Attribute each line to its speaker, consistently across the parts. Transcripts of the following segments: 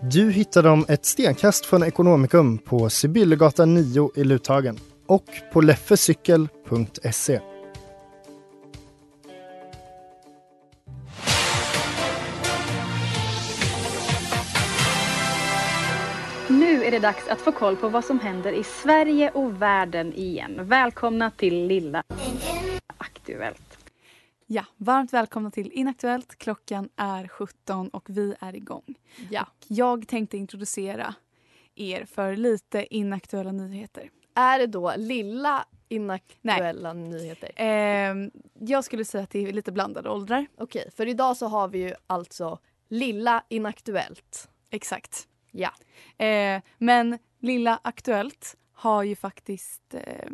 Speaker 1: Du hittar dem ett stenkast från Ekonomikum på Sibyllegatan 9 i Luthagen och på leffecykel.se.
Speaker 2: Nu är det dags att få koll på vad som händer i Sverige och världen igen. Välkomna till lilla Aktuellt.
Speaker 3: Ja, varmt välkomna till Inaktuellt. Klockan är 17 och vi är igång.
Speaker 4: Ja.
Speaker 3: Jag tänkte introducera er för lite inaktuella nyheter.
Speaker 4: Är det då lilla inaktuella nyheter?
Speaker 3: Ehm, jag skulle säga att det är lite blandade åldrar.
Speaker 4: Okej, för idag så har vi ju alltså lilla inaktuellt.
Speaker 3: Exakt.
Speaker 4: Ja.
Speaker 3: Ehm, men Lilla Aktuellt har ju faktiskt eh,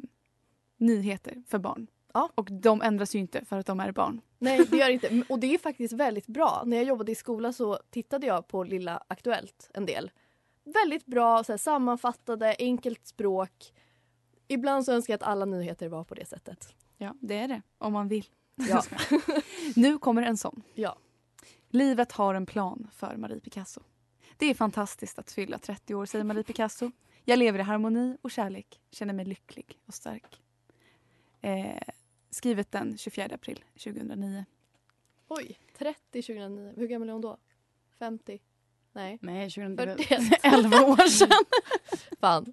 Speaker 3: nyheter för barn.
Speaker 4: Ja.
Speaker 3: Och de ändras ju inte för att de är barn.
Speaker 4: Nej, det gör det inte. Och det är faktiskt väldigt bra. När jag jobbade i skolan så tittade jag på lilla Aktuellt en del. Väldigt bra, så här, sammanfattade, enkelt språk. Ibland så önskar jag att alla nyheter var på det sättet.
Speaker 3: Ja, det är det. Om man vill.
Speaker 4: Ja.
Speaker 3: Nu kommer en sån.
Speaker 4: Ja.
Speaker 3: Livet har en plan för Marie Picasso. Det är fantastiskt att fylla 30 år, säger Marie Picasso. Jag lever i harmoni och kärlek, känner mig lycklig och stark. Eh, skrivet den 24 april 2009.
Speaker 4: Oj, 30 2009. Hur gammal är hon då? 50? Nej,
Speaker 5: Nej, 2011.
Speaker 4: 41.
Speaker 5: 11 år sedan.
Speaker 4: Fan.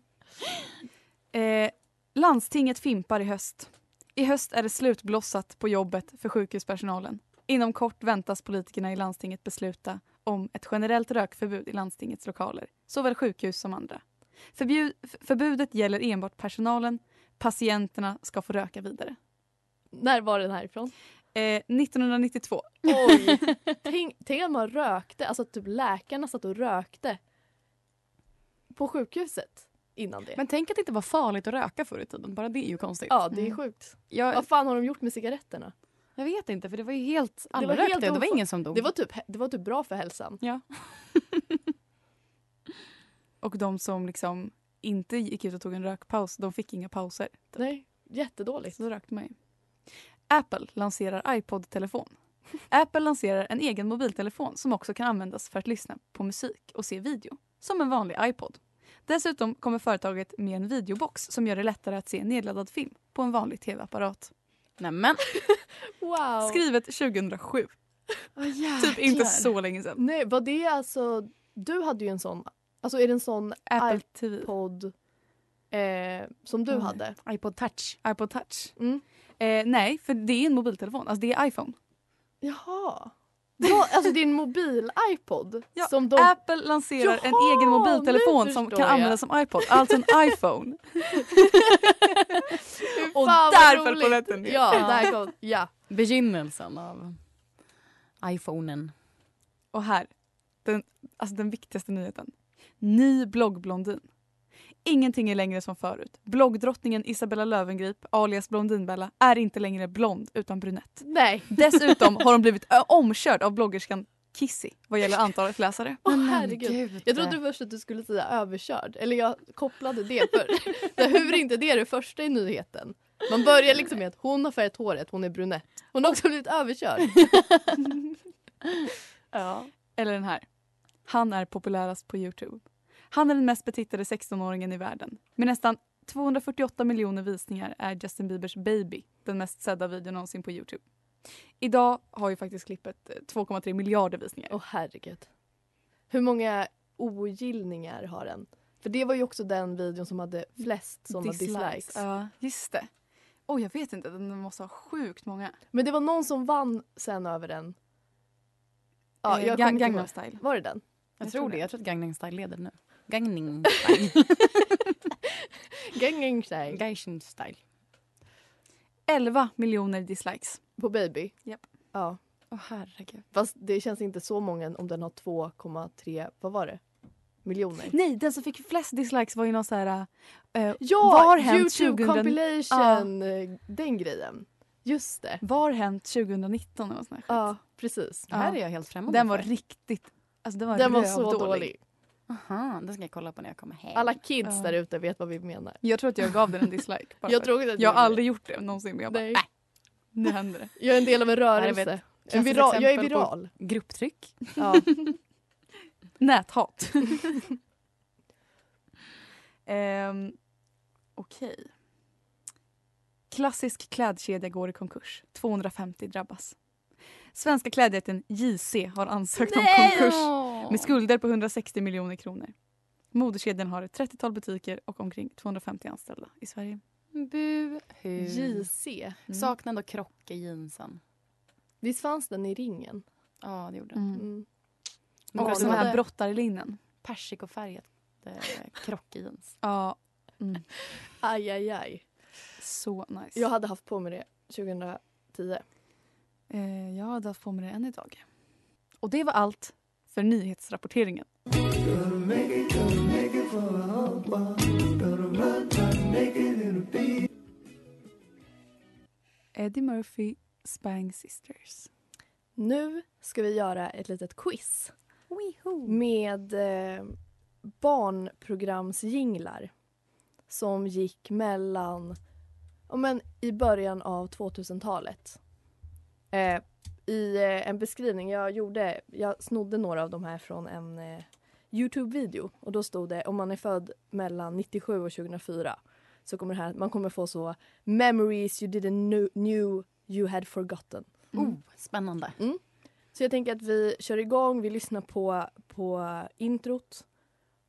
Speaker 3: Eh, landstinget fimpar i höst. I höst är det slutblossat på jobbet för sjukhuspersonalen. Inom kort väntas politikerna i landstinget besluta om ett generellt rökförbud i landstingets lokaler, såväl sjukhus som andra. Förbjud, f- förbudet gäller enbart personalen. Patienterna ska få röka vidare.
Speaker 4: När var den här ifrån?
Speaker 3: Eh, 1992.
Speaker 4: Oj! tänk, tänk att man rökte, alltså typ läkarna satt och rökte på sjukhuset innan det.
Speaker 5: Men tänk att det inte var farligt att röka förr i tiden. Bara det är ju konstigt. Mm.
Speaker 4: ja, det är sjukt.
Speaker 5: Jag,
Speaker 4: Vad fan har de gjort med cigaretterna?
Speaker 5: jag vet inte, för det var ju helt... Alla
Speaker 4: var
Speaker 5: rökte
Speaker 4: helt
Speaker 5: helt det var
Speaker 4: ofar-
Speaker 5: ingen som dog.
Speaker 4: Det var typ, det var typ bra för hälsan.
Speaker 5: ja.
Speaker 3: Och de som liksom inte gick ut och tog en rökpaus, de fick inga pauser.
Speaker 4: Nej, jättedåligt.
Speaker 3: Så då rökte man ju. Apple lanserar iPod-telefon. Apple lanserar en egen mobiltelefon som också kan användas för att lyssna på musik och se video, som en vanlig iPod. Dessutom kommer företaget med en videobox som gör det lättare att se nedladdad film på en vanlig tv-apparat.
Speaker 5: Nämen.
Speaker 4: Wow!
Speaker 3: Skrivet 2007,
Speaker 4: oh,
Speaker 5: Ah,
Speaker 3: typ inte så länge sedan.
Speaker 4: Nej, var det alltså... Du hade ju en sån. Alltså är det en sån
Speaker 3: Apple TV,
Speaker 4: iPod eh, som du
Speaker 3: Mm.
Speaker 4: hade?
Speaker 5: iPod touch.
Speaker 3: iPod touch.
Speaker 4: Mm.
Speaker 3: Eh, nej, för det är en mobiltelefon, alltså det är iPhone.
Speaker 4: Jaha. Ja, alltså din mobil-iPod?
Speaker 3: Ja,
Speaker 4: som de...
Speaker 3: Apple lanserar en
Speaker 4: Jaha,
Speaker 3: egen mobiltelefon
Speaker 4: nu
Speaker 3: som kan
Speaker 4: förstår jag.
Speaker 3: användas som iPod, alltså en iPhone. och
Speaker 4: Fan, vad
Speaker 3: där föll
Speaker 4: roligt.
Speaker 3: polletten ner.
Speaker 4: Ja, där kom... Ja.
Speaker 5: Begynnelsen av iPhonen.
Speaker 3: Och här, den, alltså den viktigaste nyheten. Ny bloggblondin. Ingenting är längre som förut. Bloggdrottningen Isabella Löwengrip, alias Blondinbella, är inte längre blond utan brunett.
Speaker 4: Nej.
Speaker 3: Dessutom har hon blivit ö, omkörd av bloggerskan Kissy vad gäller antalet läsare.
Speaker 4: Åh herregud. Jag trodde först att du skulle säga överkörd. Eller jag kopplade det för. det, hur är inte det det första i nyheten? Man börjar liksom med att hon har färgat håret, hon är brunett. Hon har också blivit överkörd. ja.
Speaker 3: Eller den här. Han är populärast på Youtube. Han är den mest betittade 16-åringen i världen. Med nästan 248 miljoner visningar är Justin Biebers Baby den mest sedda videon någonsin på Youtube. Idag har ju faktiskt klippet eh, 2,3 miljarder visningar.
Speaker 4: Åh herregud. Hur många ogillningar har den? För det var ju också den videon som hade flest sådana dislikes.
Speaker 3: Ja, just det. Oj, jag vet inte. Den måste ha sjukt många.
Speaker 4: Men det var någon som vann sen över den. Ja,
Speaker 3: Eh,
Speaker 4: jag
Speaker 3: Ga-
Speaker 4: kommer inte
Speaker 3: Gangnam
Speaker 4: ihåg.
Speaker 3: style.
Speaker 4: Var det den?
Speaker 6: Jag,
Speaker 3: Jag tror
Speaker 6: tror
Speaker 3: det.
Speaker 6: det. Jag tror att Gangnam Style leder nu. Gangnam Style.
Speaker 4: Gangnam style.
Speaker 6: Gaishin Style.
Speaker 3: 11 miljoner dislikes.
Speaker 4: På Baby?
Speaker 3: Japp.
Speaker 4: Ja.
Speaker 3: Åh herregud.
Speaker 4: Fast det känns inte så många om den har 2,3, vad var det? Miljoner.
Speaker 3: Nej, den som fick flest dislikes var ju någon så här... eh,
Speaker 4: Ja,
Speaker 3: vad har hänt
Speaker 4: Youtube
Speaker 3: 2000
Speaker 4: compilation, eh, den grejen. Just det.
Speaker 3: Vad har hänt 2019? Eller något sånt där
Speaker 4: Ja,
Speaker 3: skit.
Speaker 4: precis.
Speaker 6: Det här är jag helt främmande
Speaker 3: Den var
Speaker 6: för.
Speaker 3: riktigt... Alltså den var,
Speaker 4: Oh Den var så
Speaker 3: rövdålig.
Speaker 4: dålig.
Speaker 6: Aha, den ska jag kolla på när jag kommer hem.
Speaker 4: Alla kids
Speaker 3: Ja.
Speaker 4: där ute vet vad vi menar.
Speaker 3: Jag tror att jag gav den en dislike. bara
Speaker 4: Jag
Speaker 3: för-
Speaker 4: tror inte att
Speaker 3: jag har
Speaker 4: du är-
Speaker 3: aldrig gjort det någonsin. Men jag bara,
Speaker 4: Nej.
Speaker 3: nej, nu händer det.
Speaker 4: Jag är en del av en
Speaker 6: Nej, jag
Speaker 4: rörelse. En
Speaker 6: Klassiskt
Speaker 4: viral, jag är
Speaker 6: exempel på-
Speaker 4: viral.
Speaker 6: Grupptryck.
Speaker 4: Ja.
Speaker 3: Näthat. um, Okej. Klassisk klädkedja går i konkurs. 250 drabbas. Svenska klädjätten JC har ansökt om konkurs med skulder på 160 miljoner kronor. Moderkedjan har ett 30-tal butiker och omkring 250 anställda i Sverige.
Speaker 6: Bu. Hu.
Speaker 4: JC.
Speaker 3: Mm.
Speaker 6: Saknar ändå krock i jeansen.
Speaker 4: Visst fanns den i ringen?
Speaker 6: Ja, det gjorde den.
Speaker 3: Mm.
Speaker 4: Mm.
Speaker 6: Men
Speaker 3: Och
Speaker 6: de
Speaker 3: den här
Speaker 6: hade
Speaker 3: brottarlinnen.
Speaker 6: persikofärgat eh, krock i jeans.
Speaker 3: Ja,
Speaker 4: Aj, aj, aj.
Speaker 3: så nice.
Speaker 4: Jag hade haft på mig det 2010.
Speaker 3: Eh, jag hade haft på mig det än idag. Och det var allt för nyhetsrapporteringen. Eddie Murphy, Spang Sisters.
Speaker 4: Nu ska vi göra ett litet quiz med eh, barnprogramsjinglar som gick mellan ja, men, i början av 2000-talet. Eh, I eh, en beskrivning jag gjorde, jag snodde några av de här från en eh, Youtube-video och då stod det om man är född mellan 97 och 2004 så kommer det här, man kommer få så memories you didn't knew, knew you had forgotten.
Speaker 6: Oh, spännande.
Speaker 4: Så jag tänker att vi kör igång, vi lyssnar på, på introt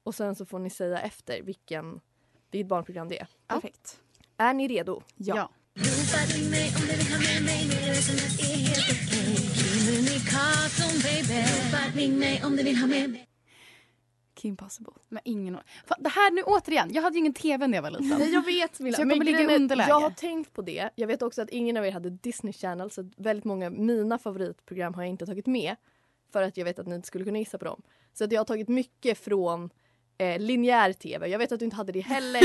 Speaker 4: och sen så får ni säga efter vilken, vilket barnprogram det är.
Speaker 3: Perfekt.
Speaker 4: Är ni redo?
Speaker 3: Ja. Kim Possible.
Speaker 6: Men ingen... Fan, det här nu återigen, jag hade ju ingen tv när jag var liten.
Speaker 4: Nej jag vet Milla.
Speaker 6: Så jag kommer
Speaker 4: men
Speaker 6: ligga i
Speaker 4: grejen är att
Speaker 6: underläge.
Speaker 4: Jag har tänkt på det. Jag vet också att ingen av er hade Disney Channel så att väldigt många av mina favoritprogram har jag inte tagit med. För att jag vet att ni inte skulle kunna gissa på dem. Så att jag har tagit mycket från eh, linjär tv. Jag vet att du inte hade det heller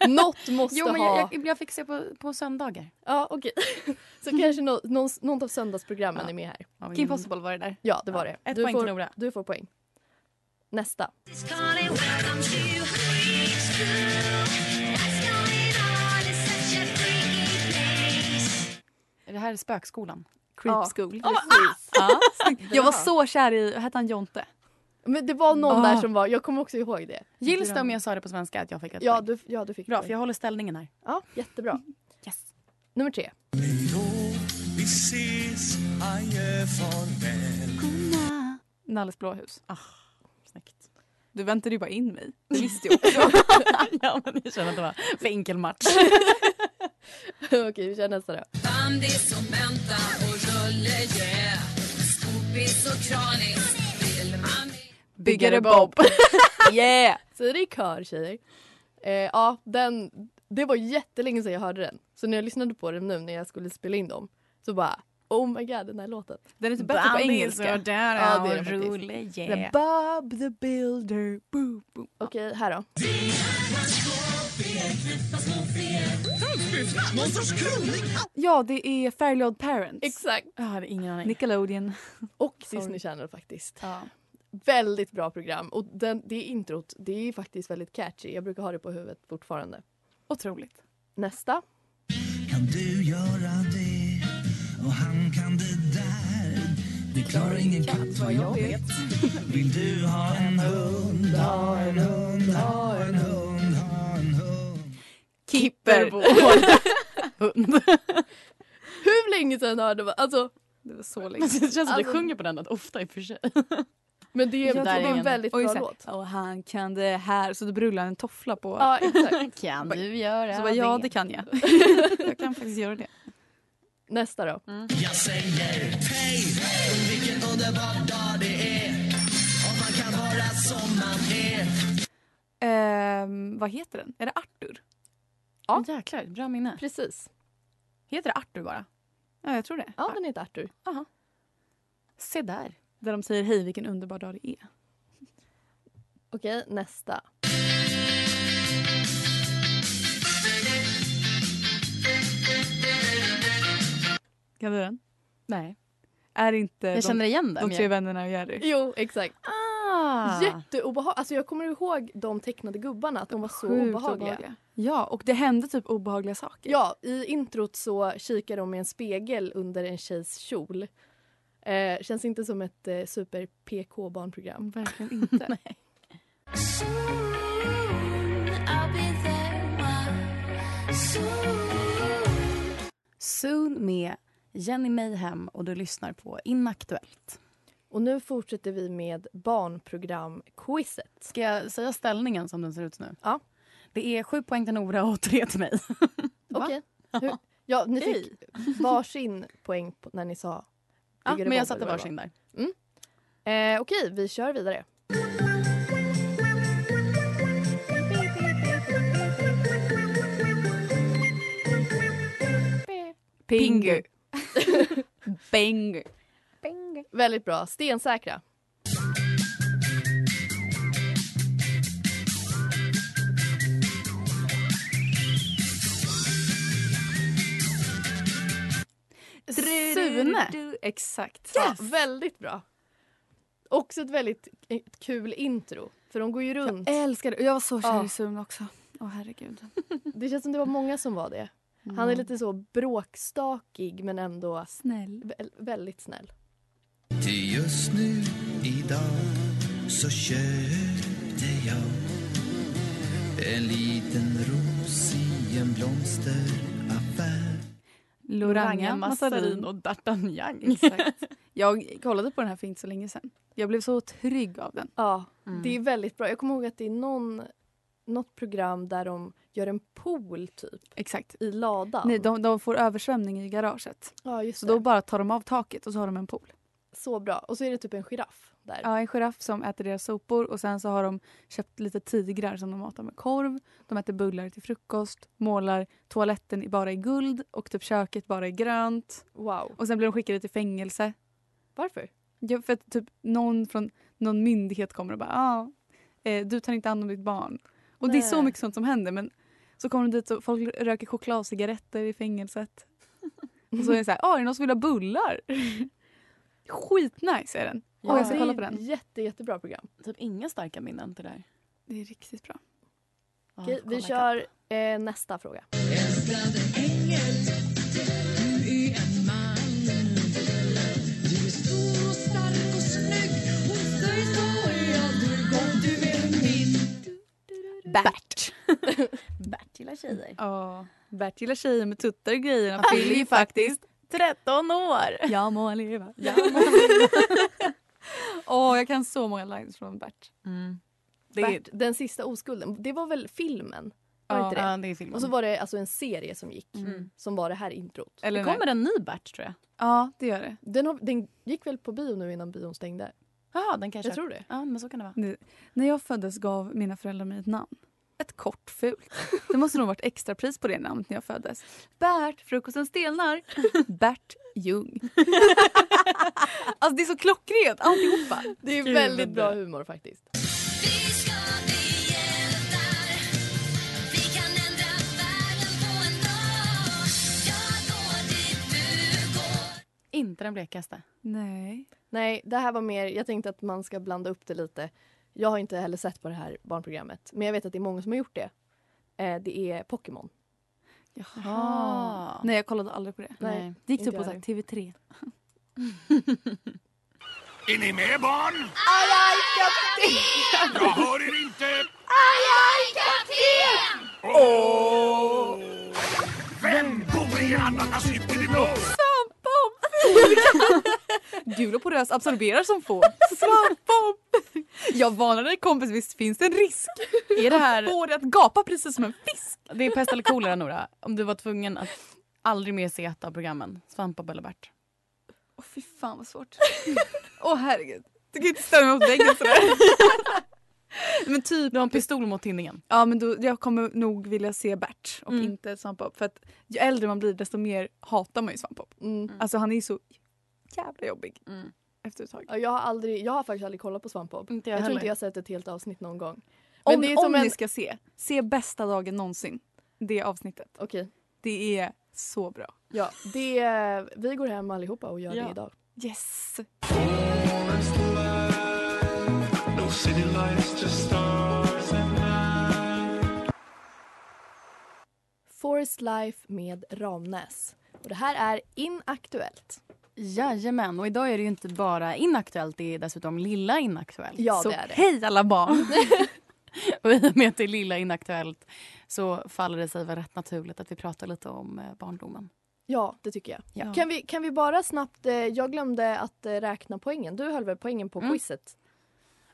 Speaker 4: men något måste
Speaker 6: Jo, men
Speaker 4: ha.
Speaker 6: jag, jag, jag fick se på, på söndagar.
Speaker 4: Ja okej. så kanske nå- någon, något av söndagsprogrammen
Speaker 6: Ja.
Speaker 4: är med här.
Speaker 6: Ja,
Speaker 3: Kim Possible var det där.
Speaker 4: Ja, det var
Speaker 6: Ja,
Speaker 4: det.
Speaker 6: ett poäng
Speaker 4: får,
Speaker 6: till Nora. Typ
Speaker 4: Du får poäng. Nästa.
Speaker 6: Det här är spökskolan.
Speaker 3: Creep
Speaker 4: Ja.
Speaker 3: School.
Speaker 4: Precis.
Speaker 3: Ja, snyggt. jag var så kär i, hette han Jonte?
Speaker 4: Men det var någon
Speaker 3: Ah.
Speaker 4: där som var, jag kommer också ihåg det.
Speaker 6: Gills det om jag sa det på svenska att jag fick ett
Speaker 4: Ja,
Speaker 6: poäng?
Speaker 4: du, ja, du fick
Speaker 6: Bra,
Speaker 4: poäng.
Speaker 6: för jag håller ställningen här.
Speaker 4: Ja, jättebra.
Speaker 6: Yes.
Speaker 4: Nummer tre.
Speaker 3: Nalles blåhus.
Speaker 6: Ah, Snyggt.
Speaker 3: Du väntade ju bara in mig. Det visste jag också.
Speaker 6: ja, men jag känner att det var för enkel match.
Speaker 4: Okej, vi kör nästa då.
Speaker 3: Byggare Bob. yeah!
Speaker 4: Säg det i kör tjejer. Eh, ja, den, det var jättelänge sedan jag hörde den. Så när jag lyssnade på den nu när jag skulle spela in dem så bara oh my god den här låten.
Speaker 3: Den är lite bättre på engelska.
Speaker 6: Där,
Speaker 4: Ja, det är den faktiskt.
Speaker 6: rolig.
Speaker 3: The Bob the Builder. Boom, boom.
Speaker 4: Okej, här då.
Speaker 3: Ja, det är Fairly Odd Parents.
Speaker 4: Exakt.
Speaker 6: Jag hade ingen aning.
Speaker 3: Nickelodeon.
Speaker 4: Och
Speaker 3: Sorry.
Speaker 4: Disney Channel faktiskt.
Speaker 3: Ja.
Speaker 4: Väldigt bra program. Och den, det introt det är faktiskt väldigt catchy. Jag brukar ha det på huvudet fortfarande.
Speaker 6: Otroligt.
Speaker 4: Nästa.
Speaker 7: Kan du göra det? Och han kan det där. Det klarar ingen katt vad jag vet. Vill du ha en hund? Ha en hund, ha en hund, ha en hund.
Speaker 3: Kipper.
Speaker 6: Hund.
Speaker 4: Hur länge sedan hörde man? Alltså,
Speaker 3: Det var så
Speaker 6: Det
Speaker 3: länge.
Speaker 6: känns som att jag
Speaker 4: Alltså-
Speaker 6: sjunger på den rätt ofta i och för sig.
Speaker 4: Men det är, det är en väldigt bra låt.
Speaker 8: Och han kan det här. Så du brullar en toffla på.
Speaker 4: Ja, exakt.
Speaker 3: Kan du göra
Speaker 8: Så bara, ja
Speaker 3: det?
Speaker 8: det kan jag. jag kan faktiskt göra det.
Speaker 4: Nästa då.
Speaker 9: Jag säger hej, vilken underbar dag det är. Om man kan vara som man är.
Speaker 8: Ehm, vad heter den? Är det Arthur?
Speaker 4: Ja.
Speaker 8: Jäklar, bra minne.
Speaker 4: Precis.
Speaker 8: Heter det Arthur bara? Ja, jag tror det.
Speaker 4: Ja, den heter Arthur.
Speaker 3: Se där.
Speaker 8: Där de säger hej vilken underbar dag det är.
Speaker 4: Okej, nästa.
Speaker 8: Kan du den?
Speaker 3: Nej.
Speaker 8: Är det inte
Speaker 3: Jag känner
Speaker 8: de,
Speaker 3: igen den.
Speaker 8: de tre vännerna och Jerry?
Speaker 4: Jo, exakt.
Speaker 3: Ah.
Speaker 4: Jätteobehagligt. Alltså jag kommer ihåg de tecknade gubbarna, att de var så
Speaker 8: Sjukt
Speaker 4: obehagliga.
Speaker 8: Ja, och det hände typ obehagliga saker.
Speaker 4: Ja, i introt så kikar de i en spegel under en tjejs kjol. Eh, känns inte som ett eh, super PK-barnprogram.
Speaker 8: Verkligen inte.
Speaker 3: Soon med Jenny Mayhem och du lyssnar på Inaktuellt.
Speaker 4: Och nu fortsätter vi med barnprogram-quizet.
Speaker 3: Ska jag säga ställningen som den ser ut nu?
Speaker 4: Ja.
Speaker 3: Det är sju poäng till Nora och tre till mig. Va?
Speaker 4: Okej. Hur- Ja, ni fick varsin poäng på, när ni sa...
Speaker 3: Ja,
Speaker 4: ligger
Speaker 3: men jag
Speaker 4: bomber,
Speaker 3: satte
Speaker 4: vad det
Speaker 3: varsin där.
Speaker 4: var. Eh, Okej, vi kör vidare.
Speaker 8: Pingu. Bengu.
Speaker 4: Väldigt bra. Stensäkra.
Speaker 3: Sune.
Speaker 8: Exakt.
Speaker 4: Ja, väldigt bra. Också ett väldigt ett kul intro. För de går ju runt.
Speaker 8: Jag älskar det. Och Jag var så kär
Speaker 4: Ja.
Speaker 8: i Sune också. Åh herregud.
Speaker 4: Det känns som det var många som var det. Han
Speaker 8: Mm.
Speaker 4: är lite så bråkstakig men ändå
Speaker 8: snäll.
Speaker 4: vä- väldigt snäll.
Speaker 9: Till just nu idag så köpte jag en liten ros i en blomsteraffär.
Speaker 8: Loranga,
Speaker 3: Massarin
Speaker 8: Massarin.
Speaker 3: och D'Artagnan.
Speaker 8: Exakt. Jag kollade på den här för inte så länge sedan. Jag blev så trygg av den.
Speaker 4: Ja,
Speaker 3: Mm.
Speaker 4: det är väldigt bra. Jag kommer ihåg att det är någon, något program där de gör en pool typ
Speaker 8: Exakt.
Speaker 4: i ladan.
Speaker 8: Nej, de, de får översvämning i garaget.
Speaker 4: Ja, just
Speaker 8: Så
Speaker 4: det.
Speaker 8: då bara tar de av taket och så har de en pool.
Speaker 4: Så bra. Och så är det typ en giraff där.
Speaker 8: Ja, en giraff som äter deras sopor och sen så har de köpt lite tigrar som de matar med korv. De äter bullar till frukost, målar toaletten i- bara i guld och typ köket bara i grönt.
Speaker 4: Wow.
Speaker 8: Och sen blir de skickade till fängelse.
Speaker 4: Varför?
Speaker 8: Ja, för att typ någon från någon myndighet kommer och bara ah, eh, du tar inte hand om ditt barn. Och det är så
Speaker 4: Nej.
Speaker 8: mycket sånt som händer men så kommer de dit och folk röker chokladcigaretter i fängelset. och så är det så här, ah, är det någon som vill ha bullar? Skitnice är den.
Speaker 3: Ja,
Speaker 8: Åh, jag ska
Speaker 4: det
Speaker 8: kolla
Speaker 4: är
Speaker 8: på den.
Speaker 4: Jätte, jättebra program.
Speaker 3: Typ inga starka minnen till det här.
Speaker 8: Det är riktigt bra.
Speaker 3: Ja,
Speaker 4: Okej,
Speaker 3: kolla
Speaker 4: vi
Speaker 3: ikapp.
Speaker 4: kör eh, nästa fråga.
Speaker 3: Bert. Bert gillar tjejer.
Speaker 8: Ja. Bert gillar tjejer med tuttar och grejer. Han
Speaker 3: Han
Speaker 8: fyller ju faktiskt.
Speaker 3: 13 år!
Speaker 8: Jag må leva. Jag må leva. Åh, jag kan så många lines från Bert.
Speaker 3: Mm. Det är,
Speaker 4: Bert, den sista oskulden. Det var väl filmen? Var
Speaker 8: Ja. Mm.
Speaker 4: inte det?
Speaker 3: ja, det är filmen.
Speaker 4: Och så var det alltså en serie som gick som var det här introt.
Speaker 8: Eller
Speaker 3: det
Speaker 8: nej.
Speaker 3: kommer en ny Bert tror jag.
Speaker 8: Ja, det gör det.
Speaker 4: Den, har, den gick väl på bio nu innan bion stängde?
Speaker 3: Ja, den kanske.
Speaker 4: Jag tror det.
Speaker 3: Ja, men så kan det vara.
Speaker 8: När jag föddes gav mina föräldrar mig ett namn. Ett kort fult. Det måste nog varit extrapris på det namnet när jag föddes. Bert, frukosten stelnar. Bert Ljung. alltså det är så klockrent alltihopa.
Speaker 4: Det är
Speaker 3: Gud,
Speaker 4: väldigt
Speaker 3: vad
Speaker 4: bra
Speaker 3: bra.
Speaker 4: humor faktiskt.
Speaker 3: Inte den blekaste.
Speaker 8: Nej.
Speaker 4: Nej, det här var mer, jag tänkte att man ska blanda upp det lite. Jag har inte heller sett på det här barnprogrammet, men jag vet att det är många som har gjort det. Eh, det är Pokémon.
Speaker 3: Jaha.
Speaker 8: Nej jag kollade aldrig på det.
Speaker 4: Nej,
Speaker 8: Det gick typ
Speaker 4: inte
Speaker 8: på så
Speaker 4: jag
Speaker 8: här TV3.
Speaker 9: Är ni med barn? Jag hör er inte! Åh! Vem bor i grannarnas hyttedepå?
Speaker 8: Gul och porös absorberar som få. Svampbob! Jag varnar dig kompis, visst finns det en risk? Är det här... Får dig att gapa precis som en fisk.
Speaker 3: Det är pest eller kolera, Nora. Om du var tvungen att aldrig mer se ett av programmen. Svampa eller Bert.
Speaker 8: Åh fy fan vad svårt. Åh herregud. Du kan inte ställa mig mot väggen sådär. men typ...
Speaker 3: Du har en pistol mot tinningen.
Speaker 8: Ja men då, jag kommer nog vilja se Bert och inte Svampbob. För att ju äldre man blir desto mer hatar man ju Svampbob.
Speaker 4: Mm.
Speaker 8: Alltså han är ju så jävla jobbig. Efter ett tag.
Speaker 4: Ja, Jag har, aldrig, jag har faktiskt aldrig kollat på Svampbob.
Speaker 3: Mm.
Speaker 8: Mm.
Speaker 3: Inte jag
Speaker 4: jag tror
Speaker 3: heller.
Speaker 4: inte jag har sett ett helt avsnitt någon gång.
Speaker 8: Om,
Speaker 4: Men det är
Speaker 8: om
Speaker 4: som en-
Speaker 8: ni ska se, se bästa dagen någonsin. Det avsnittet.
Speaker 4: Okej,
Speaker 8: Det är så bra.
Speaker 4: ja. Det, är- vi går hem allihopa och gör
Speaker 3: Ja.
Speaker 4: det idag.
Speaker 8: Yes!
Speaker 4: Forest Life med Ramnäs. Och det här är inaktuellt.
Speaker 3: Jajamän, och idag är det ju inte bara inaktuellt, det är dessutom lilla inaktuellt.
Speaker 4: Ja,
Speaker 3: så
Speaker 4: det är det.
Speaker 3: hej alla barn! och i och med att det är lilla inaktuellt så faller det sig väl rätt naturligt att vi pratar lite om eh, barndomen.
Speaker 4: Ja, det tycker jag.
Speaker 3: Ja.
Speaker 4: Kan, vi, kan vi bara snabbt, eh, jag glömde att eh, räkna poängen. Du höll väl poängen på
Speaker 3: Mm.
Speaker 4: quizet?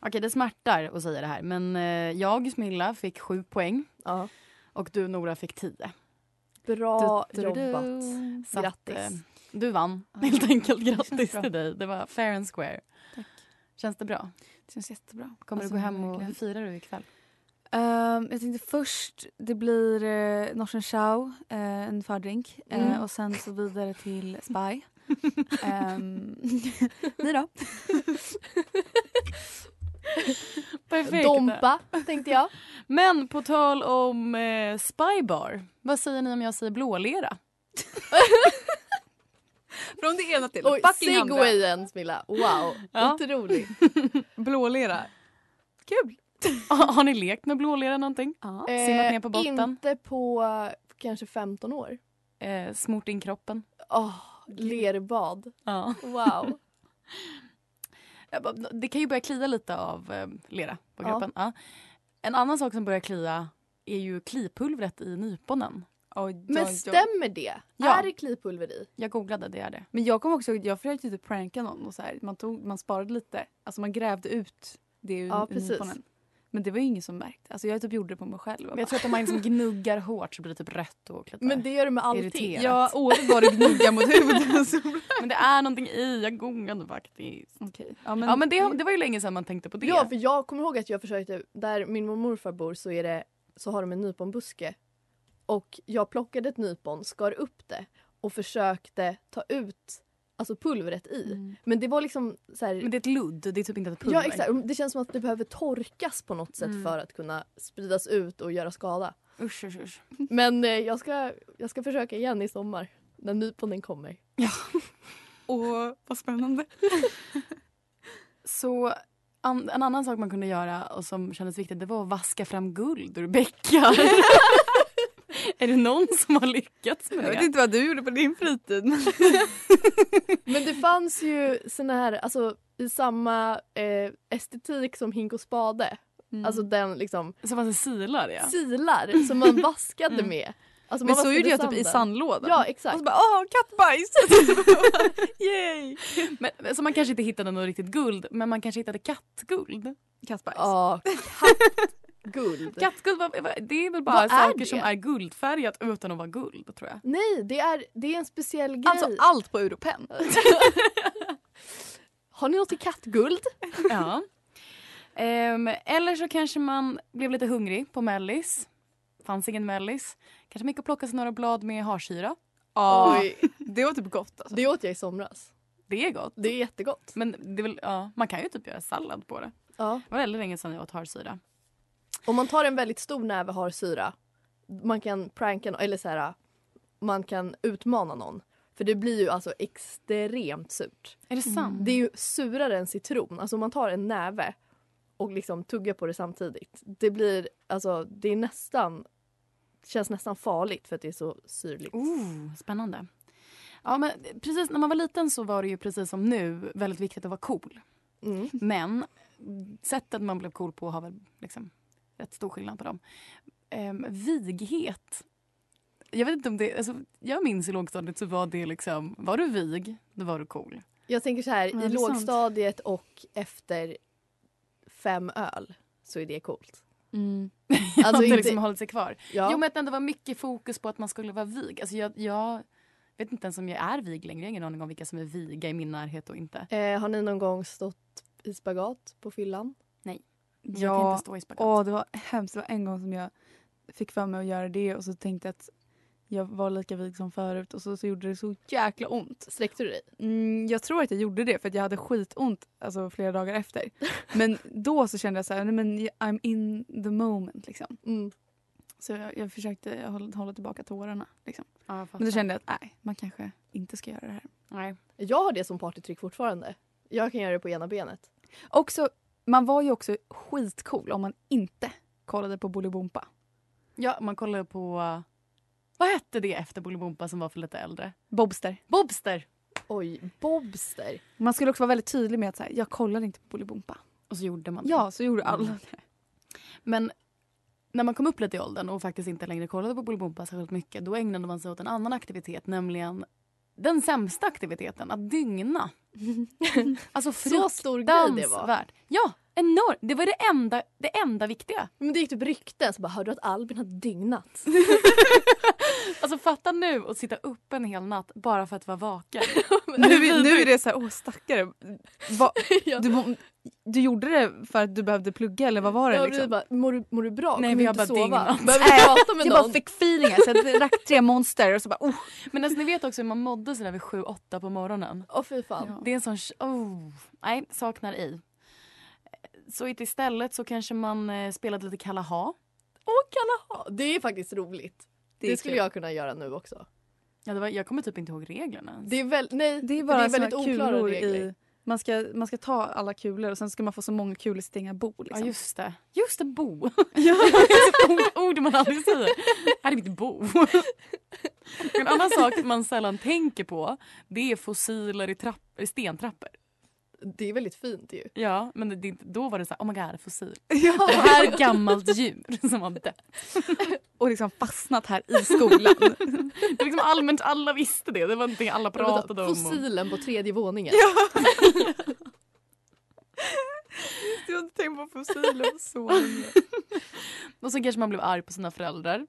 Speaker 3: Okej, det smärtar att säga det här, men eh, jag, Smilla, fick sju poäng
Speaker 4: Ja.
Speaker 3: och du, Nora, fick tio.
Speaker 4: Bra
Speaker 3: Du, du, du, du.
Speaker 4: jobbat.
Speaker 3: Så att,
Speaker 4: Grattis.
Speaker 3: eh, du vann, helt enkelt. Grattis
Speaker 8: bra.
Speaker 3: till dig. Det var fair and square.
Speaker 8: Tack.
Speaker 3: Känns det bra?
Speaker 8: Det känns jättebra.
Speaker 3: Kommer
Speaker 8: Alltså,
Speaker 3: du gå hem och
Speaker 8: verkligen.
Speaker 3: hur firar du ikväll?
Speaker 8: Ehm, jag tänkte först, det blir eh, norsen chow, eh, en fördrink. Eh,
Speaker 4: Mm.
Speaker 8: och sen så vidare till Spy. Ehm, ni då?
Speaker 3: Perfekt.
Speaker 4: Dompa, tänkte jag.
Speaker 3: Men på tal om eh, spybar, vad säger ni om jag säger blålera?
Speaker 8: Från det ena till
Speaker 4: Oj, segwayen Smilla. Wow,
Speaker 3: Ja.
Speaker 4: otroligt.
Speaker 8: Blålera. Kul!
Speaker 3: Har har ni lekt med blålera någonting? Eh,
Speaker 8: Ja.
Speaker 3: Simmat ner på botten?
Speaker 4: Eh, Inte på eh, kanske 15 år.
Speaker 3: Eh, smort in kroppen?
Speaker 4: Åh, lerbad.
Speaker 3: Ja.
Speaker 4: Wow.
Speaker 3: Det kan ju börja klia lite av eh, lera på
Speaker 4: Ja.
Speaker 3: kroppen. Ja. En annan sak som börjar klia är ju klipulvret i nyponen.
Speaker 8: Oj,
Speaker 4: Men
Speaker 8: oj, oj.
Speaker 4: stämmer det?
Speaker 3: Ja.
Speaker 4: Är det klipulver i?
Speaker 3: Jag googlade, det är det.
Speaker 8: Men jag kommer också ihåg, jag försökte typ pranka någon och så här, man, tog, man sparade lite, alltså man grävde ut det ur
Speaker 4: Ja,
Speaker 8: ur
Speaker 4: precis.
Speaker 8: nyponen. Men det var ju ingen som märkte. Alltså jag typ gjorde det på mig själv.
Speaker 3: Men jag tror att om man liksom gnuggar hårt så blir det typ rött och klitar.
Speaker 4: Men det gör det med allting.
Speaker 3: Irriterat.
Speaker 8: Ja, året var det gnugga mot huvudet. Så...
Speaker 3: Men det är någonting i, jag gungade faktiskt.
Speaker 8: Okej. Ja, men,
Speaker 3: Ja men det, det var ju länge sedan man tänkte på det. Mm.
Speaker 4: Ja, för jag kommer ihåg att jag försökte, där min mormor och morfar bor så, är det, så har de en nyponbuske. Och jag plockade ett nypon, skar upp det och försökte ta ut alltså pulvret i. Men det var liksom så här,
Speaker 3: Mm. Men det är ett ludd, det är typ inte ett pulver. Mm.
Speaker 4: Ja exakt, det känns som att det behöver torkas på något sätt för att kunna spridas ut och göra skada.
Speaker 3: Usch, usch, usch.
Speaker 4: Men eh, jag, ska, jag ska försöka igen i sommar när nyponen kommer.
Speaker 8: Åh, vad spännande.
Speaker 3: Så an, en annan sak man kunde göra och som kändes viktigt det var att vaska fram guld ur bäckar. är det någon som har lyckats med
Speaker 8: Jag vet
Speaker 3: det?
Speaker 8: inte vad du gjorde på din fritid. men-
Speaker 4: Men det fanns ju såna här, alltså i samma eh, estetik som hink och spade. Alltså den liksom
Speaker 3: Som Mm. fanns det silar ja.
Speaker 4: silar som man vaskade
Speaker 3: Mm.
Speaker 4: med. Alltså,
Speaker 8: Men
Speaker 4: man
Speaker 8: så
Speaker 4: vaskade
Speaker 8: gjorde jag typ i Alltså,
Speaker 4: sanden.
Speaker 8: sandlådan.
Speaker 4: Ja
Speaker 8: Och
Speaker 4: exakt.
Speaker 8: så bara åh, kattbajs!
Speaker 3: Yay! Men, så man kanske inte hittade något riktigt guld men man kanske hittade kattguld.
Speaker 8: Kattbajs.
Speaker 4: Ja, kattguld.
Speaker 3: Kattguld var, var- det är väl bara
Speaker 4: Vad är
Speaker 3: saker
Speaker 4: det?
Speaker 3: som är guldfärgat utan att vara guld tror jag.
Speaker 4: Nej, det är, det är en speciell grej.
Speaker 8: Alltså allt på Europen.
Speaker 4: Har ni något i kattguld?
Speaker 3: Ja. Ehm, eller så kanske man blev lite hungrig på mellis. Fanns ingen mellis. Kanske man gick och plockade sig några blad med harsyra.
Speaker 8: Ja, det var typ gott alltså.
Speaker 4: Det åt jag i somras.
Speaker 3: Det är gott.
Speaker 4: Det är jättegott.
Speaker 3: Men det är väl, ja, man kan ju typ göra sallad på det.
Speaker 4: Ja.
Speaker 3: Det var väldigt länge sedan jag åt harsyra.
Speaker 4: Om man tar en väldigt stor näve har syra, man kan pranka någon, eller så här, man kan utmana någon. För det blir ju alltså extremt surt.
Speaker 3: Är Mm. det sant?
Speaker 4: Det är ju surare än citron. Alltså om man tar en näve och liksom tuggar på det samtidigt. Det blir, alltså det är nästan, känns nästan farligt för att det är så syrligt.
Speaker 3: Oh, spännande. Ja, men precis när man var liten så var det ju precis som nu väldigt viktigt att vara cool.
Speaker 4: Mm.
Speaker 3: Men sättet man blev cool på har väl liksom rätt stor skillnad på dem. Ehm, vighet. Jag vet inte om det, alltså, jag minns i lågstadiet så var det liksom, var du vig, då var du cool.
Speaker 4: Jag tänker så här,
Speaker 8: Ja, det
Speaker 4: i
Speaker 8: är sant.
Speaker 4: lågstadiet och efter fem öl så är det coolt.
Speaker 3: Mm.
Speaker 4: Alltså
Speaker 3: Alltså, inte
Speaker 4: inte-
Speaker 3: liksom hållit sig kvar.
Speaker 4: Ja.
Speaker 3: Jo men att det ändå var mycket fokus på att man skulle vara vig. Alltså jag, jag vet inte ens om jag är vig längre. Jag har ingen aning om vilka som är viga i min närhet och inte.
Speaker 4: Eh, har ni någon gång stått i spagat på fyllan?
Speaker 3: Nej.
Speaker 8: Ja, Åh, det var hemskt. Det var en gång som jag fick för mig att göra det och så tänkte jag att jag var lika vig som förut och så, så gjorde det så jäkla ont.
Speaker 4: Sträckte du dig?
Speaker 8: Mm, jag tror att jag gjorde det för att jag hade skitont alltså, flera dagar efter. Men då så kände jag så här, nej men jag- I'm in the moment liksom.
Speaker 4: Mm.
Speaker 8: Så jag, jag försökte hålla, hålla tillbaka tårarna liksom. Men då kände jag att nej, man kanske inte ska göra det här.
Speaker 3: Nej.
Speaker 4: Jag har det som partytrick fortfarande. Jag kan göra det på ena benet.
Speaker 8: Också, man var ju också skitcool om man inte kollade på Bolibompa.
Speaker 3: Ja, man kollade på... Vad hette det efter Bolibompa som var för lite äldre?
Speaker 8: Bobster.
Speaker 3: Bobster!
Speaker 4: Oj, Bobster.
Speaker 8: Man skulle också vara väldigt tydlig med att så här, jag kollade inte på Mm. Bolibompa.
Speaker 3: Och så gjorde man det.
Speaker 8: Ja, så gjorde alla det.
Speaker 3: Men när man kom upp lite i åldern och faktiskt inte längre kollade på Bolibompa särskilt mycket då ägnade man sig åt en annan aktivitet, nämligen den sämsta aktiviteten, att dygna. alltså
Speaker 4: Så stor grej det var.
Speaker 3: fruktansvärt. Ja, enormt. Det var det enda, det enda viktiga.
Speaker 4: Men det gick typ rykten. Så bara, hörde du att Albin har dygnat?
Speaker 3: Alltså fatta nu att sitta upp en hel natt bara för att vara vaken.
Speaker 8: Nu, är- nu är det så här, åh stackare. Va, du, må- du gjorde det för att du behövde plugga eller vad var det?
Speaker 4: Jag
Speaker 8: Liksom?
Speaker 4: blir bara, mår du, mår du bra?
Speaker 3: Nej,
Speaker 4: Kommer
Speaker 3: vi
Speaker 4: du
Speaker 3: har bara
Speaker 4: inte sova?
Speaker 3: dygnat.
Speaker 4: Behöver du prata med
Speaker 8: jag
Speaker 4: någon?
Speaker 8: bara fick feeling här, så jag drack tre monster och så bara oh.
Speaker 3: Men alltså, ni vet också hur man mådde sådär vid 7-8 på morgonen.
Speaker 4: Åh fy fan.
Speaker 3: Det är en sån... Oh, nej, saknar i. Så istället så kanske man eh, spelade lite Kalla ha.
Speaker 4: Åh kalla ha. Det är faktiskt roligt.
Speaker 8: Det
Speaker 4: Det,
Speaker 8: är
Speaker 4: skulle
Speaker 8: kul.
Speaker 4: jag kunna göra nu också.
Speaker 3: Ja, det var, jag kommer typ inte ihåg reglerna. ens.
Speaker 4: Det är, väl, nej,
Speaker 8: Det är bara
Speaker 4: det är väldigt
Speaker 8: såna
Speaker 4: oklara
Speaker 8: kulor
Speaker 4: regler.
Speaker 8: i... Man ska, man ska ta alla kulor och sen ska man få så många kulor sitt egna bo. Liksom.
Speaker 3: Ja, just det. Just det, bo. ord, ord man aldrig säger. Här är mitt bo. En annan sak man sällan tänker på det är fossiler i, trapp, i stentrappor.
Speaker 4: Det är väldigt fint ju.
Speaker 3: Ja, men det, det, är inte- då var det så här, oh my god, fossil.
Speaker 8: Ja.
Speaker 3: Det här är ett gammalt djur som har dött.
Speaker 8: Och liksom fastnat här i skolan.
Speaker 3: Det är liksom allmänt, alla visste det. Det var typ någonting alla pratade om. och-
Speaker 4: Fossilen på tredje våningen.
Speaker 8: jag har inte tänkt på fossiler så länge.
Speaker 3: Och så kanske man blev arg på sina föräldrar.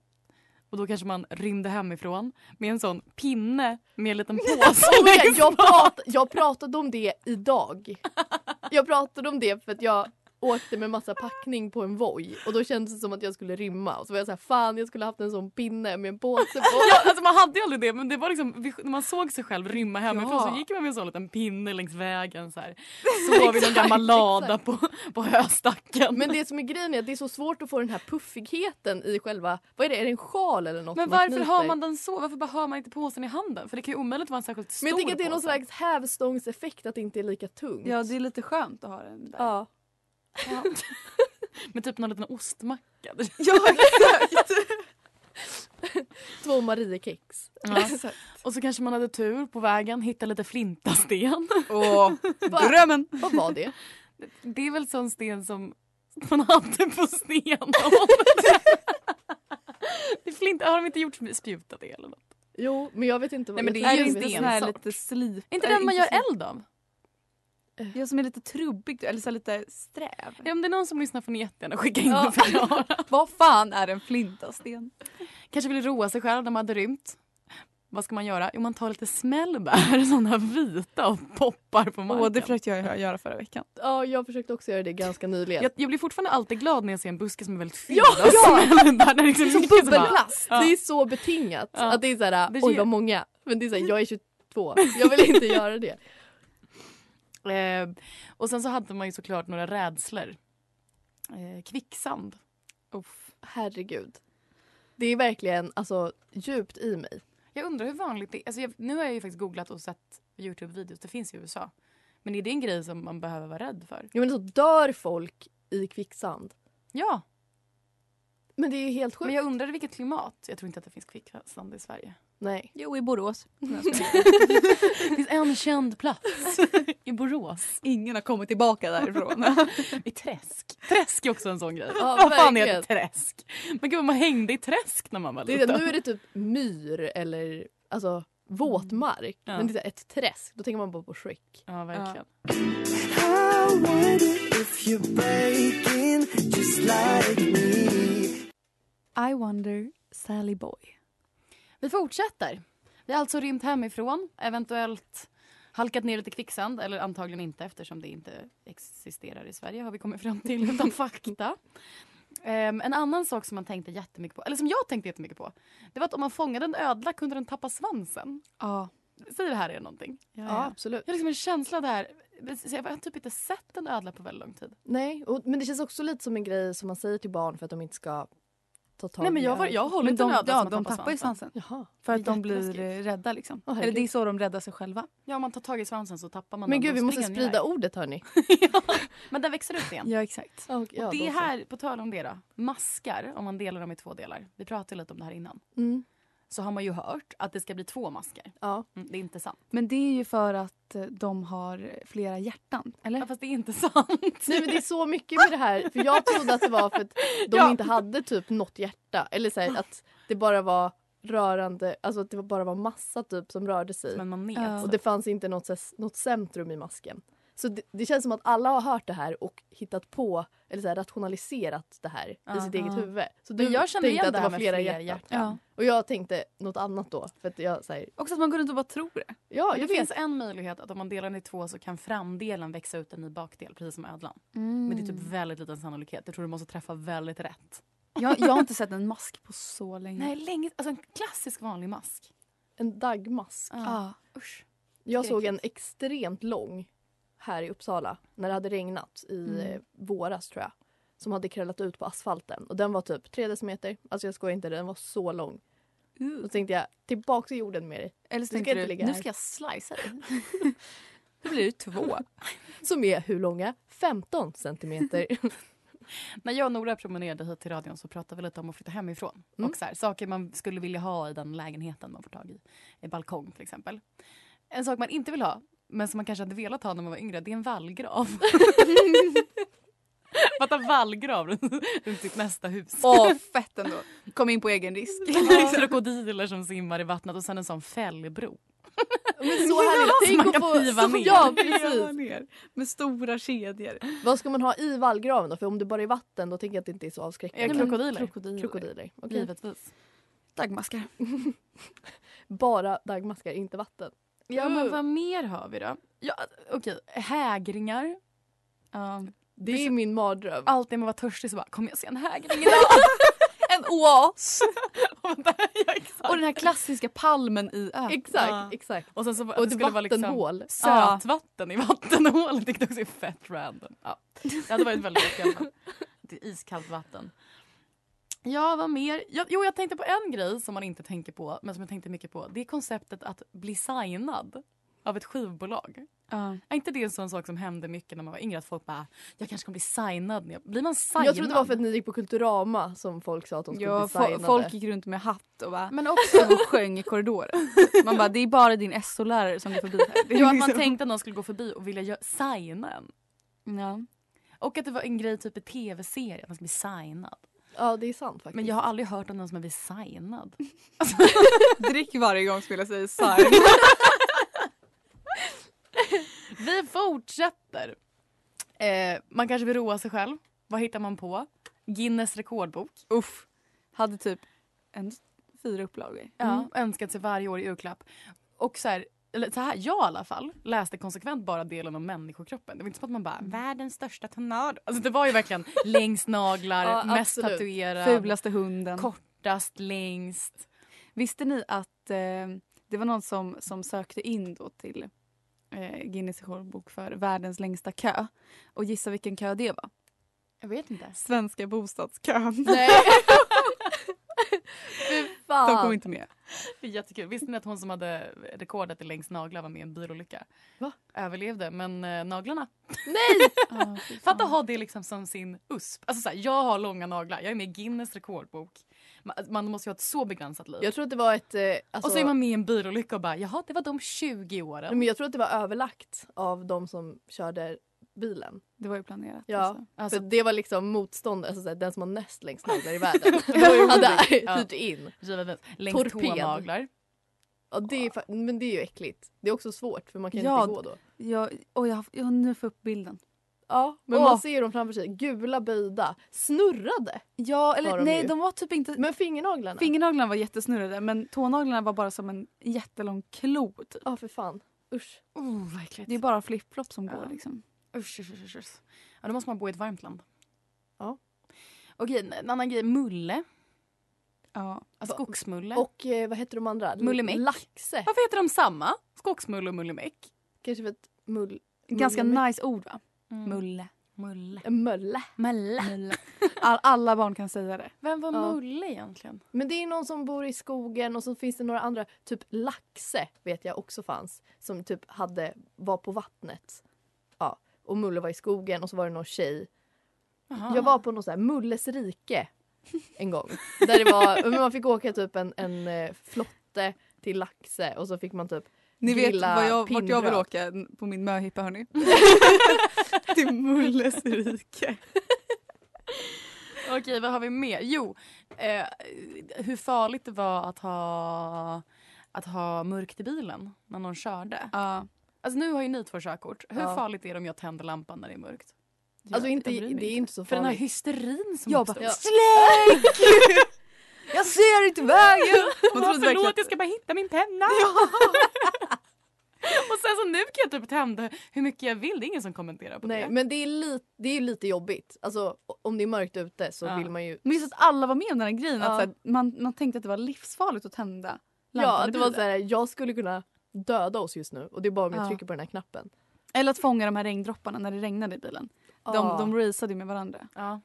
Speaker 3: Och då kanske man rymde hemifrån med en sån pinne med en liten påse.
Speaker 4: Oh my God,
Speaker 3: längst
Speaker 4: jag,
Speaker 3: bak.
Speaker 4: prat, jag pratade om det idag. Jag pratade om det för att jag åkte med massa packning på en voj och då kändes det som att jag skulle rymma och så var jag så här, fan jag skulle haft en sån pinne med en påse på.
Speaker 3: Ja, alltså man hade ju aldrig det men det var liksom, vi- när man såg sig själv rymma hemifrån
Speaker 4: Ja.
Speaker 3: så gick man med en sån liten pinne längs vägen så här. Sov i någon gammal lada på, på höstacken.
Speaker 4: Men det som är grejen är att det är så svårt att få den här puffigheten i själva, vad är det, är det en sjal eller något
Speaker 3: Men
Speaker 4: man
Speaker 3: varför har
Speaker 4: knyter?
Speaker 3: man den så? Varför bara har man inte påsen i handen? För det kan ju omöjligt vara en särskilt stor
Speaker 4: Men jag tänker att det är någon
Speaker 3: påse.
Speaker 4: slags hävstångseffekt att det inte är lika tungt.
Speaker 8: Ja, det är lite skönt att ha den där.
Speaker 4: Ja.
Speaker 3: Med typ någon liten ostmacka.
Speaker 4: Två Mariekex.
Speaker 3: Ja. Och så kanske man hade tur på vägen, hittade lite flintasten.
Speaker 8: Åh, drömmen!
Speaker 4: Vad var det?
Speaker 3: Det är väl sån sten som man hade på stenåldern. det är flint, har de inte gjort spjuta det eller något?
Speaker 4: Jo, men jag vet inte vad
Speaker 3: Nej, men det
Speaker 4: jag
Speaker 3: är
Speaker 8: Är
Speaker 3: ju
Speaker 8: det
Speaker 4: tror
Speaker 8: inte sån
Speaker 4: jag vet.
Speaker 8: här
Speaker 3: stensort.
Speaker 8: lite slip?
Speaker 3: Är inte
Speaker 8: eller
Speaker 3: den man gör
Speaker 8: slip-
Speaker 3: eld av?
Speaker 8: Ja, som är lite trubbig eller så här lite sträv.
Speaker 3: Ja, Om det är någon som lyssnar får ni jättegärna skicka in
Speaker 8: Ja.
Speaker 3: och förklara.
Speaker 8: Vad fan är en flintasten?
Speaker 3: Kanske vill roa sig själv när man hade rymt. Vad ska man göra? Jo, man tar lite smällbär, såna här vita och poppar på marken.
Speaker 8: Åh, det försökte jag göra förra veckan.
Speaker 4: Ja, jag försökte också göra det ganska nyligen.
Speaker 3: jag, jag blir fortfarande alltid glad när jag ser en buske som är väldigt fylld
Speaker 4: Ja,
Speaker 3: av
Speaker 4: ja!
Speaker 3: smällbär. Där liksom
Speaker 4: Som
Speaker 3: mycket bara-
Speaker 4: bubbelplast!
Speaker 3: Ja.
Speaker 4: Det är så betingat.
Speaker 3: Ja.
Speaker 4: Att det är såhär,
Speaker 3: Det
Speaker 4: oj
Speaker 3: ger-
Speaker 4: vad många. Men det är såhär, jag är 22. Jag vill inte göra det.
Speaker 3: Eh, och sen så hade man ju såklart några rädslor. Eh, kvicksand.
Speaker 4: Herregud. Det är verkligen alltså djupt i mig.
Speaker 3: Jag undrar hur vanligt det är. Alltså jag, nu har jag ju faktiskt googlat och sett Youtube-videos. Det finns i USA. Men är det en grej som man behöver vara rädd för?
Speaker 4: Jag menar så dör folk i kvicksand.
Speaker 3: Ja,
Speaker 4: Men det är ju helt sjukt.
Speaker 3: men jag undrar vilket klimat. Jag tror inte att det finns kvicksand i Sverige.
Speaker 4: Nej.
Speaker 8: Jo, i Borås.
Speaker 3: Det finns en känd plats i Borås.
Speaker 8: Ingen har kommit tillbaka därifrån.
Speaker 3: I Träsk. Träsk är också en sån grej.
Speaker 4: Ja,
Speaker 3: vad fan är
Speaker 4: verkligen.
Speaker 3: ett träsk? Men gud, man hängde i träsk när man var
Speaker 4: Det är,
Speaker 3: liten.
Speaker 4: nu är det typ myr eller alltså, våtmark.
Speaker 3: Mm. Ja.
Speaker 4: Men det är så här ett träsk. Då tänker man bara på Shrek.
Speaker 3: Ja, verkligen.
Speaker 9: How don't mind it if you're breaking just like me.
Speaker 8: I wonder Sally Boy.
Speaker 3: Vi fortsätter. Vi har alltså rymt hemifrån, eventuellt halkat ner lite kvicksand, eller antagligen inte eftersom det inte existerar i Sverige har vi kommit fram till utan fakta. Ehm, en annan sak som man tänkte jättemycket på, eller som jag tänkte jättemycket på, det var att om man fångade en ödla kunde den tappa svansen.
Speaker 8: Ja.
Speaker 3: Säger det här er någonting?
Speaker 4: Ja, ja, absolut.
Speaker 3: Jag har liksom en känsla där, jag har typ inte sett en ödla på väldigt lång tid.
Speaker 4: Nej, och, men det känns också lite som en grej som man säger till barn för att de inte ska ta tag
Speaker 3: Nej, men jag
Speaker 4: i
Speaker 3: var-
Speaker 4: det.
Speaker 3: jag har hållit
Speaker 4: Men
Speaker 3: en
Speaker 4: de-
Speaker 3: ödla
Speaker 4: ja,
Speaker 3: som har
Speaker 4: de
Speaker 3: tappat
Speaker 4: tappar ju
Speaker 3: svansen.
Speaker 4: Jaha.
Speaker 8: För att
Speaker 3: Det är
Speaker 8: de blir
Speaker 3: jätteläskigt.
Speaker 8: eh, rädda liksom.
Speaker 3: Åh,
Speaker 8: Eller det är
Speaker 3: herregud.
Speaker 8: så de räddar sig själva.
Speaker 3: Ja, om man tar tag i svansen så tappar man
Speaker 4: Men
Speaker 3: den,
Speaker 4: gud,
Speaker 3: då
Speaker 4: vi måste
Speaker 3: springer den
Speaker 4: sprida
Speaker 3: iväg.
Speaker 4: ordet hörni.
Speaker 3: Men den växer upp igen.
Speaker 8: Ja, exakt.
Speaker 4: Och, ja,
Speaker 3: och
Speaker 4: då
Speaker 3: det
Speaker 4: så.
Speaker 3: här, på tal om det då, maskar, om man delar dem i två delar, vi pratade lite om det här innan,
Speaker 4: Mm.
Speaker 3: så har man ju hört att det ska bli två maskar.
Speaker 4: Ja.
Speaker 3: Mm, det är inte sant.
Speaker 8: Men det är ju för att eh, de har flera hjärtan, eller?
Speaker 3: Ja, fast det är inte sant.
Speaker 4: Nej men det är så mycket med det här. För jag trodde att det var för att de
Speaker 3: Ja.
Speaker 4: inte hade typ något hjärta. Eller så här, att det bara var rörande, alltså att det bara var massa typ som rörde sig.
Speaker 3: Men man vet.
Speaker 8: Ja.
Speaker 4: Och det fanns inte något, så här, något centrum i masken. Så det, det känns som att alla har hört det här och hittat på eller så här, rationaliserat det här i
Speaker 3: Ja.
Speaker 4: sitt
Speaker 8: Ja.
Speaker 4: eget huvud. Så
Speaker 3: Men
Speaker 4: du
Speaker 3: jag kände igen
Speaker 4: tänkte att
Speaker 3: det
Speaker 4: det
Speaker 3: här
Speaker 4: var
Speaker 3: med
Speaker 4: flera
Speaker 3: flera
Speaker 4: hjärtan.
Speaker 3: hjärtan.
Speaker 8: Ja.
Speaker 4: Och jag tänkte något annat då. För att jag säger,
Speaker 8: Också att man går runt och bara tror det.
Speaker 4: ja,
Speaker 3: Men
Speaker 4: jag
Speaker 3: det
Speaker 4: vet.
Speaker 3: finns en möjlighet att om man delar den i två så kan framdelen växa ut en ny bakdel, precis som ödlan. Men det är
Speaker 8: Mm.
Speaker 3: typ väldigt liten sannolikhet. Jag tror du måste träffa väldigt rätt.
Speaker 8: jag, jag har inte sett en mask på så länge.
Speaker 3: Nej, länge. Alltså en klassisk vanlig mask.
Speaker 4: En daggmask.
Speaker 8: Ja.
Speaker 3: Usch.
Speaker 4: Jag såg en
Speaker 3: Skräckligt.
Speaker 4: extremt lång här i Uppsala när det hade regnat i
Speaker 8: Mm.
Speaker 4: eh, våras tror jag. Som hade krällat ut på asfalten och den var typ tre decimeter. Alltså jag skojar inte, den var så lång. Och så tänkte jag, tillbaks i jorden med dig.
Speaker 8: Eller så
Speaker 4: Du ska
Speaker 8: tänker
Speaker 4: inte
Speaker 8: du,
Speaker 4: ligga
Speaker 8: nu
Speaker 4: här.
Speaker 8: ska jag slicea dig. Då blir det två.
Speaker 4: Som är hur långa? 15 centimeter.
Speaker 3: När jag och Nora promenerade hit till radion så pratade vi lite om att flytta hemifrån.
Speaker 4: Mm.
Speaker 3: Och så här, saker man skulle vilja ha i den lägenheten man får tag i. En balkong till exempel. En sak man inte vill ha, men som man kanske hade velat ha när man var yngre, det är en vallgrav. Fatta vallgrav runt runt sitt nästa hus.
Speaker 8: Åh, fett ändå. Kom in på egen risk.
Speaker 3: Krokodiler som simmar i vattnet och sen en sån fällbro.
Speaker 4: Men så härligt. Tänk
Speaker 3: man
Speaker 4: att
Speaker 3: kan
Speaker 4: få...
Speaker 3: riva ner.
Speaker 4: Ja, precis.
Speaker 8: ner. Med stora kedjor.
Speaker 4: Vad ska man ha i vallgraven då? För om det bara är vatten då tänker jag att det inte är så
Speaker 3: Ja,
Speaker 4: avskräckande.
Speaker 3: krokodiler.
Speaker 8: Krokodiler.
Speaker 4: Krokodiler. Okej.
Speaker 3: Givetvis.
Speaker 8: Dagmaskar.
Speaker 4: Bara daggmaskar, inte vatten.
Speaker 3: Ja, men vad mer har vi då? Uh. Ja, Okej, hägringar.
Speaker 8: Ja.
Speaker 4: Det är min mardröm.
Speaker 3: Alltid när man var törstig så bara, kommer jag se en hägring
Speaker 8: En oas.
Speaker 3: idag? ja, exakt.
Speaker 8: Och den här klassiska palmen i ön.
Speaker 4: Exakt,
Speaker 3: Ja.
Speaker 4: exakt.
Speaker 3: Och sen så var-
Speaker 4: Och ett
Speaker 3: skulle det vara liksom
Speaker 4: vattenhål.
Speaker 3: sötvatten i vattenhålet, vilket också är fett random. Ja. Det hade varit väldigt skönt. Det är iskallt vatten. Ja, vad mer? Jag, jo, jag tänkte på en grej som man inte tänker på, men som jag tänkte mycket på. Det är konceptet att bli signad av ett skivbolag.
Speaker 8: Ja.
Speaker 3: Är inte det en sån sak som hände mycket när man var yngre? Att folk bara, jag kanske kommer bli signad. när jag-" Blir man signad?
Speaker 4: Jag trodde det var för att ni gick på Kulturama som folk sa att de skulle
Speaker 8: Ja,
Speaker 4: bli
Speaker 8: fo-
Speaker 4: signade.
Speaker 8: folk gick runt med hatt och bara
Speaker 3: Men också
Speaker 8: och sjöng i korridoren. Man bara, det är bara din SO-lärare som går förbi här. Det är
Speaker 3: ja, att man
Speaker 8: liksom-
Speaker 3: tänkte att någon skulle gå förbi och vilja gö- signa en.
Speaker 8: Ja.
Speaker 3: Och att det var en grej typ i tv-serier, att man skulle bli signad.
Speaker 4: Ja, det är sant faktiskt.
Speaker 3: Men jag har aldrig hört om någon som har blivit signad.
Speaker 8: Drick varje gång spelar sig sarg.
Speaker 3: Vi fortsätter. Eh, man kanske vill roa sig själv. Vad hittar man på? Guinness rekordbok.
Speaker 8: Uff. Hade typ en fyra upplagor. Mm.
Speaker 3: Ja, Mm. Önskat sig varje år i julklapp. Och så här, eller så här, jag i alla fall läste konsekvent bara delen om människokroppen. Det var inte som att man bara, världens största tornado. Alltså det var ju verkligen längst naglar,
Speaker 4: Ja,
Speaker 3: mest
Speaker 4: absolut.
Speaker 3: tatuerad,
Speaker 8: Fulaste hunden.
Speaker 3: kortast, längst.
Speaker 8: Visste ni att eh, det var någon som, som sökte in då till eh, Guinness rekordbok för världens längsta kö? Och gissa vilken kö det var?
Speaker 3: Jag vet inte.
Speaker 8: Svenska bostadskön.
Speaker 4: Nej! Fy
Speaker 8: De kom
Speaker 4: fan!
Speaker 8: inte med.
Speaker 3: Det är jättekul. Visste ni att hon som hade rekordet i längst naglar var med i en bilolycka?
Speaker 4: Va?
Speaker 3: Överlevde, men eh, naglarna.
Speaker 4: Nej!
Speaker 8: Ah, fy fan.
Speaker 3: Fatta att ha det liksom som sin USP. Alltså så här, jag har långa naglar, jag är med i Guinness rekordbok. Man, man måste ju ha ett så begränsat liv.
Speaker 4: Jag tror att det var ett... eh, Alltså, Mm,
Speaker 3: Och så är man med i en bilolycka och bara jaha det var de 20
Speaker 4: Nej,
Speaker 3: åren.
Speaker 4: men jag tror att det var överlagt av de som körde bilen.
Speaker 8: Det var ju planerat.
Speaker 4: Ja,
Speaker 8: alltså.
Speaker 3: Alltså,
Speaker 4: För det var liksom motståndare, alltså, såhär, den som har näst längst naglar i världen hade
Speaker 3: Ja.
Speaker 4: hyrt in.
Speaker 3: givetvis. Längst
Speaker 4: Torped.
Speaker 3: tånaglar.
Speaker 4: Ja, det är, fa- men det är ju äckligt. Det är också svårt för man kan
Speaker 8: Ja,
Speaker 4: inte gå då.
Speaker 8: Jag, och jag, jag har nu får upp bilden.
Speaker 4: Ja,
Speaker 3: Men
Speaker 4: och man
Speaker 3: ma-
Speaker 4: ser dem framför sig. Gula böjda. Snurrade
Speaker 3: Ja, eller
Speaker 4: var de
Speaker 3: nej,
Speaker 4: ju.
Speaker 3: de var typ inte...
Speaker 4: Men fingernaglarna?
Speaker 3: Fingernaglarna var jättesnurrade men tånaglarna var bara som en jättelång klo. Typ.
Speaker 4: Ja, för fan. Usch.
Speaker 3: Oh, vad äckligt.
Speaker 8: Det är bara flippflopp som går
Speaker 3: Ja.
Speaker 8: liksom.
Speaker 3: Usch, usch, usch, usch. Ja, då måste man bo i ett varmt land.
Speaker 4: Ja.
Speaker 3: Okej, en annan grej. Mulle.
Speaker 8: Ja.
Speaker 3: Alltså skogsmulle.
Speaker 4: Och eh, vad heter de andra?
Speaker 3: Mullimäck.
Speaker 4: Laxe.
Speaker 3: Varför heter de samma? Skogsmulle och mullemäck.
Speaker 4: Kanske för att typ mull...
Speaker 8: Ganska
Speaker 4: mullimäck-
Speaker 8: nice ord va? Mulle.
Speaker 3: Mm. Mulle.
Speaker 4: Mölle.
Speaker 3: Mulle.
Speaker 8: All, alla barn kan säga det.
Speaker 3: Vem var
Speaker 4: Ja.
Speaker 3: Mulle egentligen?
Speaker 4: Men det är någon som bor i skogen och så finns det några andra. Typ Laxe vet jag också fanns. Som typ hade, var på vattnet. Ja. Och Mulle var i skogen och så var det någon tjej.
Speaker 3: Jaha.
Speaker 8: Ah.
Speaker 4: Jag var på något så här Mulles rike en gång. Där det var, men man fick åka typ en, en eh, flotte till Laxe och så fick man typ
Speaker 8: Ni vet
Speaker 4: grilla
Speaker 8: vad jag, vart jag vill
Speaker 4: pinnbröd.
Speaker 8: åka n- på min möhippa hörni. Till Mulles rike.
Speaker 3: Okej, vad har vi mer? Jo, eh, hur farligt det var att ha, att ha mörkt i bilen när någon körde.
Speaker 8: Ja.
Speaker 3: Alltså nu har ju ni två körkort. Hur
Speaker 4: Ja.
Speaker 3: farligt är det om jag tänder lampan när det är mörkt?
Speaker 4: Alltså
Speaker 3: Jag-
Speaker 4: inte,
Speaker 3: jag bryr mig
Speaker 4: det är inte så
Speaker 3: För den här
Speaker 4: farligt.
Speaker 3: hysterin som
Speaker 4: Jag bara,
Speaker 3: uppstår.
Speaker 4: ja.
Speaker 3: Släck!
Speaker 4: Jag ser inte vägen!
Speaker 8: Man trodde verkligen
Speaker 3: Förlåt,
Speaker 8: att
Speaker 3: jag ska bara hitta min penna! Och sen så nu kan jag typ tända hur mycket jag vill. Det är ingen som kommenterar på
Speaker 4: Nej,
Speaker 3: det.
Speaker 4: men det är, li, det är ju lite jobbigt. Alltså o- om det är mörkt ute så
Speaker 3: Ja.
Speaker 4: vill man ju...
Speaker 8: Men just att alla var med om den här grejen.
Speaker 4: Ja.
Speaker 8: Att så här, man, man tänkte att det var livsfarligt att tända lampan
Speaker 4: Ja,
Speaker 8: i
Speaker 4: att det var
Speaker 8: bilen.
Speaker 4: så här, jag skulle kunna döda oss just nu och det är bara om jag
Speaker 8: Ja.
Speaker 4: trycker på den här knappen.
Speaker 8: Eller att fånga de här regndropparna när det regnade i bilen. De,
Speaker 4: Ja.
Speaker 8: de raceade ju med varandra.
Speaker 3: Ja.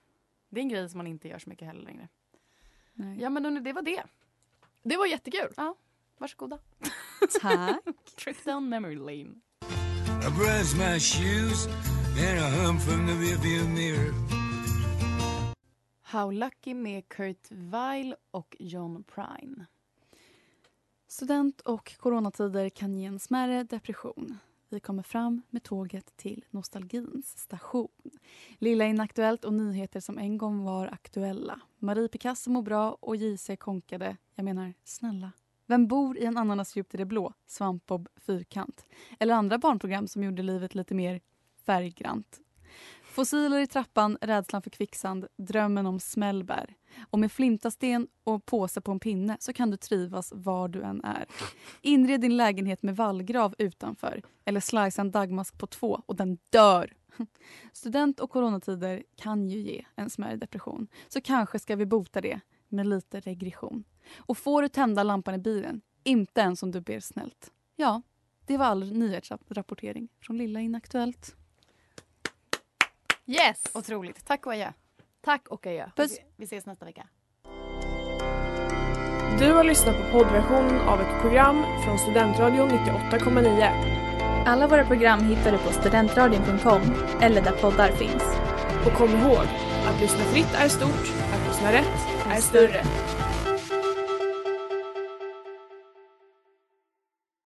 Speaker 3: Det är en grej som man inte gör så mycket heller längre.
Speaker 8: Nej.
Speaker 3: Ja, men hörni, det var det.
Speaker 4: Det var jättekul.
Speaker 3: Varsågoda.
Speaker 8: Tack.
Speaker 3: Trip down memory lane.
Speaker 9: I brush my shoes, then I hum from the rearview mirror.
Speaker 3: How Lucky med Kurt Weill och John Prine.
Speaker 8: Student och coronatider kan ge en smärre depression. Vi kommer fram med tåget till nostalgins station. Lilla Inaktuellt och nyheter som en gång var aktuella. Marie Picasso mår bra och JC konkade. Jag menar, snälla. Vem bor i en ananas djupt i det blå? Svampbob Fyrkant. Eller andra barnprogram som gjorde livet lite mer färggrant. Fossiler i trappan, rädslan för kvicksand, drömmen om smällbär. Och med flintasten och påse på en pinne så kan du trivas var du än är. Inred din lägenhet med vallgrav utanför eller slicea en dagmask på två och den dör. Student och coronatider kan ju ge en smärre depression så kanske ska vi bota det med lite regression. Och får du tända lampan i bilen, inte ens om du ber snällt. Ja, det var all nyhetsrapportering från Lilla Inaktuellt.
Speaker 4: Yes! Och
Speaker 3: Otroligt. Tack och adjö.
Speaker 4: tack och adjö.
Speaker 8: Puss!
Speaker 3: Vi ses nästa vecka.
Speaker 10: Du har lyssnat på poddversionen av ett program från Studentradion 98,9.
Speaker 11: Alla våra program hittar du på studentradion.com eller där poddar finns.
Speaker 10: Och kom ihåg, att lyssna fritt är stort, att lyssna rätt är större.